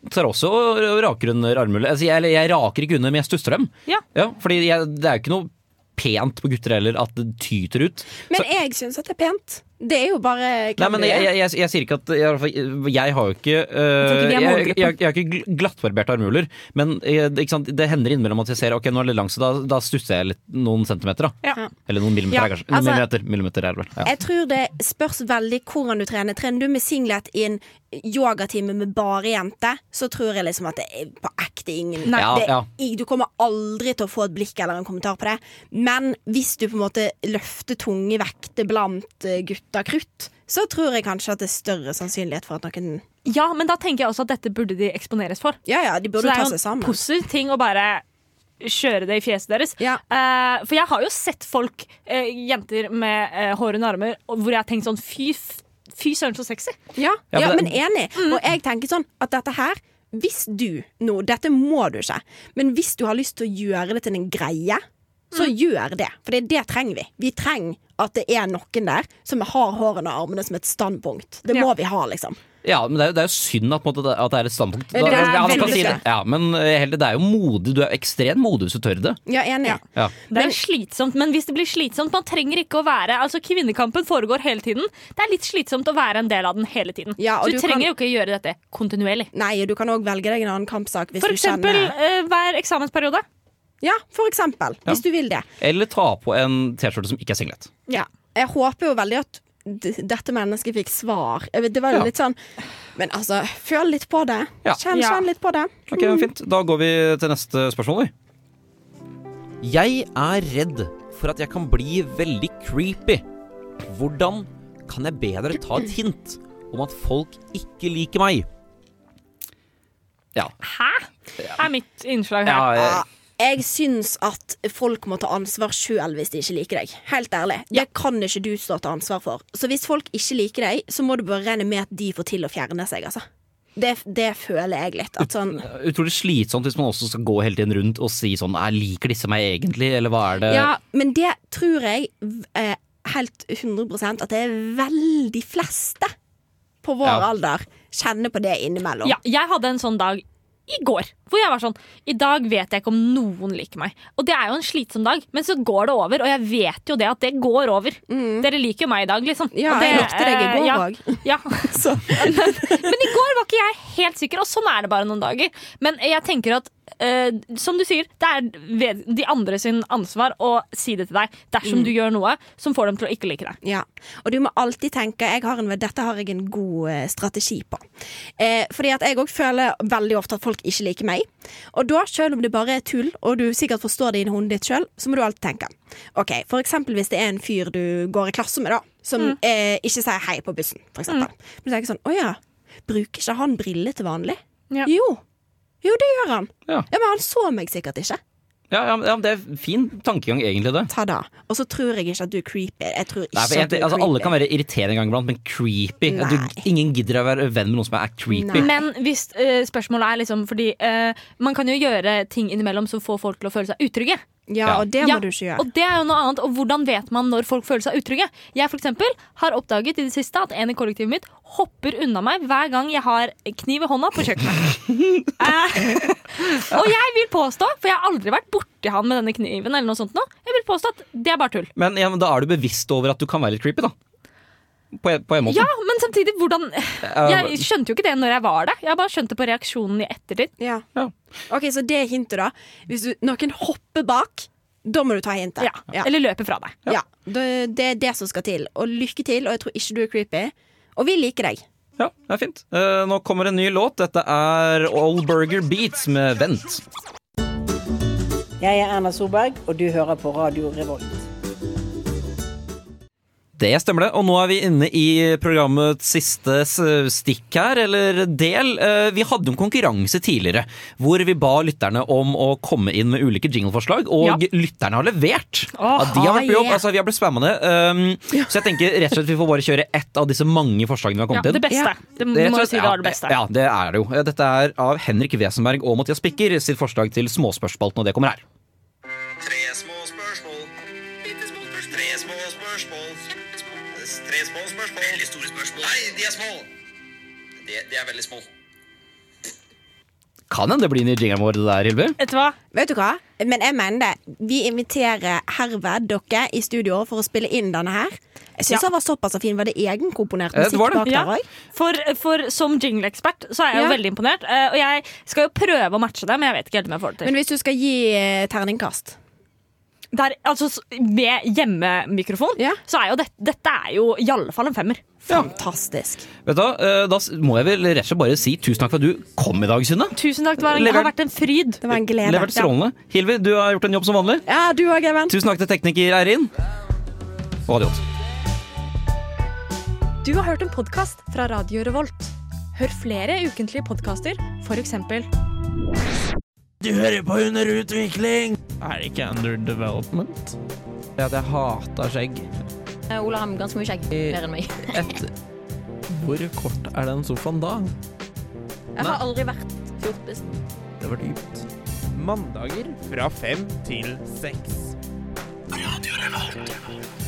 tar også og og raker under armhulet. Altså, jeg, eller jeg raker ikke under, men jeg stusser dem.
Ja.
fordi jeg, det er jo ikke noe pent på gutter heller at det tyter ut.
Men jeg syns at det er pent. Det er jo bare
Nei, men jeg, jeg, jeg, jeg sier ikke at Jeg, jeg har jo ikke
Jeg tror ikke vi
øh,
er
jeg, jeg,
målgruppen.
jeg har ikke gl- glattbarberte armhuler, men eh, det- ikke sant, det hender innimellom at jeg ser Ok, nå er det litt langt, så da, da stusser jeg litt noen centimeter. da
Ja.
Eller noen millimeter,
Ja,
er kanskje. Noen
altså-
millimeter, millimeter er det vel. Ja.
Jeg tror det spørs veldig hvordan du trener. Trener du med singlet i en yogatime med bare jenter, så tror jeg liksom at det er på ekte ingen
Nei. Ja,
det,
ja.
i- Du kommer aldri til å få et blikk eller en kommentar på det. Men hvis du på en måte løfter tunge vekter blant eh, gutter krutt, så tror jeg kanskje at det er større sannsynlighet for at noen
Ja, men da tenker jeg også at dette burde de eksponeres for.
Ja, ja, de burde
Så det er
ta
jo
seg sammen.
en positiv ting å bare kjøre det i fjeset deres. Eh, for jeg har jo sett folk, eh, jenter med eh, hår under armer, og hvor jeg har tenkt sånn fy, f- fy søren så sexy.
Ja,
Ja,
ja,
men
men
det-
enig. Og jeg tenker sånn at dette her Hvis du nå Dette må du ikke. Men hvis du har lyst til å gjøre det til en greie, så gjør det. For det, det trenger vi. Vi trenger at det er noen der som har hårene og armene som et standpunkt. Det må vi ha, liksom.
ja, men det er, jo- det er jo synd at, på en måte, at det er et standpunkt.
Det er
Da- ja, man
veldig
kan si det.
synd.
Ja, men eh, heller, det er jo modig. Du er ekstremt modig hvis du tør det.
Ja, enig.
Ja.
Det er jo slitsomt, men hvis det blir slitsomt Man trenger ikke å være Altså, kvinnekampen foregår hele tiden. Det er litt slitsomt å være en del av den hele tiden.
og
så du,
du kan-
trenger jo ikke gjøre dette kontinuerlig.
Nei, og du kan òg velge deg en annen kampsak hvis
For
du kjenner
eksempel eh, hver eksamensperiode.
Ja, for eksempel.
Ja.
Hvis du vil det.
Eller ta på en T-skjorte som ikke er singlet.
Ja. Jeg håper jo veldig at d dette mennesket fikk svar. Jeg vet, Det var jo
Ja.
litt sånn Men altså, føl litt på det.
Ja.
Kjenn,
Ja.
kjenn litt på det.
Ok, fint. Da går vi til neste spørsmål, vi. Jeg er redd for at jeg kan bli veldig creepy. Hvordan kan jeg bedre ta et hint om at folk ikke liker meg? Ja.
Hæ? Er mitt innslag
Ja,
her.
jeg-
Jeg syns at folk må ta ansvar sjøl hvis de ikke liker deg. Helt ærlig. Det kan ikke du stå til ansvar for. Så hvis folk ikke liker deg, så må du bare regne med at de får til å fjerne seg, altså. Det, det føler jeg litt. At
<laughs>
sånn
Utrolig slitsomt hvis man også skal gå hele tiden rundt og si sånn «Nei, Liker disse meg egentlig, eller hva er det
Ja, men det tror jeg eh, helt 100 at det er veldig fleste på vår
Ja.
alder kjenner på det innimellom.
Ja, jeg hadde en sånn dag i går hvor jeg var sånn I dag vet jeg ikke om noen liker meg. Og det er jo en slitsom dag, men så går det over. Og jeg vet jo det at det går over. Dere liker jo meg i dag, liksom.
Mm. Ja,
og det,
jeg likte deg i
eh,
går
ja,
<laughs> òg.
Ja. <laughs> men, men i går var ikke jeg helt sikker, og sånn er det bare noen dager. Men jeg tenker at eh, som du sier, det er ved de andre sin ansvar å si det til deg dersom
Mm.
du gjør noe som får dem til å ikke like deg.
Ja, og du må alltid tenke jeg har en, Dette har jeg en god eh, strategi på. Eh, fordi at jeg òg føler veldig ofte at folk ikke liker meg. Og da, selv om det bare er tull, og du sikkert forstår det inni hodet ditt sjøl, så må du alltid tenke. Ok, For eksempel hvis det er en fyr du går i klasse med, da, som
Mm.
eh, ikke sier hei på bussen, for eksempel. Du tenker sånn Å ja, bruker ikke han briller til vanlig? Jo. Jo, det gjør han. Ja, Men han så meg sikkert ikke.
Ja, ja, men- ja, men Det er fin tankegang, egentlig. det
Ta det. Og så tror jeg ikke at du er creepy. Jeg tror ikke
Nei, for jeg,
at du er
altså, Alle
creepy.
kan være irriterende en gang iblant, men creepy
Nei.
du, Ingen gidder å være venn med noen som er creepy.
Men hvis eh, spørsmålet er liksom fordi eh, man kan jo gjøre ting innimellom som får folk til å føle seg utrygge.
Ja, og det må du ikke gjøre.
Og det er jo noe annet, og hvordan vet man når folk føler seg utrygge? Jeg for eksempel har oppdaget i det siste at en i kollektivet mitt hopper unna meg hver gang jeg har kniv i hånda på kjøkkenet. Eh, og jeg vil påstå, for jeg har aldri vært borti han med denne kniven, eller noe sånt nå, jeg vil påstå at det er bare tull.
Men, ja, men da er du bevisst over at du kan være litt creepy, da. På, en- på en måte.
Ja, men samtidig, hvordan Jeg skjønte jo ikke det når jeg var der. Jeg bare skjønte på reaksjonen i ettertid.
Ja. Ok, Så det er hintet, da. Hvis du, noen hopper bak, da må du ta hintet.
Eller løpe fra deg.
Ja. Det, det er det som skal til. Og lykke til, og jeg tror ikke du er creepy. Og vi liker deg.
Ja, det er fint. Eh, nå kommer en ny låt. Dette er All Burger Beats med Vent.
Jeg er Erna Solberg, og du hører på Radio Revolt.
Det stemmer det. Og nå er vi inne i programmets siste s- stikk her, eller del. Eh, Vi hadde en konkurranse tidligere hvor vi ba lytterne om å komme inn med ulike jingleforslag, og
Ja.
lytterne har levert. ja, de har vært på jobb.
yeah.
Altså, vi har blitt spamma ned. Um, Så jeg tenker rett og slett vi får bare kjøre ett av disse mange forslagene vi har kommet
Ja, det
inn.
beste. Ja. Det må
Rett
jo
og slett,
si det
ja,
er det beste.
Ja, det er det jo. Dette er av Henrik Wesenberg og Mathias Pikker sitt forslag til Småspørsspalten, og det kommer her.
Tre små spørsmål. Bitte små spørsmål. Tre små spørsmål. Tre små spørsmål. Veldig store spørsmål. Nei, de er små. De, de er veldig små.
Kan hende det blir en ny jingle vår, det der, Hilvi.
Vet du hva?
Vet du hva? Men jeg mener det. Vi inviterer herved dere i studio for å spille inn denne her. Jeg syns
Ja.
den var såpass fin. Var det egenkomponert
Eh, det
musikk
var det.
bak der
Ja.
òg?
For, for som jingle-ekspert så er jeg jo
Ja.
veldig imponert. eh, Og jeg skal jo prøve å matche det, men jeg vet ikke helt om jeg får det
Men
til.
hvis du skal gi eh, terningkast
Der, altså, s- med hjemmemikrofon så er jo det, dette er jo i alle fall en femmer.
Fantastisk.
Vet du, hva, eh, Da s- må jeg vel rett og slett bare si tusen takk for at du kom i dag, Synne.
Tusen takk, det var en,
Lever-
har vært en fryd. Det
var en glede.
Levert strålende. Hilvi, du har gjort en jobb som vanlig.
Ja, du òg, Even.
Tusen takk til tekniker Eirin. Og adios.
Du har hørt en podkast fra Radio Revolt. Hør flere ukentlige podkaster, f.eks.
Du hører på Under utvikling! Er det ikke under development? Det at jeg hater skjegg.
Eh, Ola har ganske mye skjegg. Mer
<laughs>
enn meg.
Hvor kort er den sofaen da?
Jeg har aldri vært fjortis.
Det var dypt. Mandager fra fem til seks. Radio Revolt.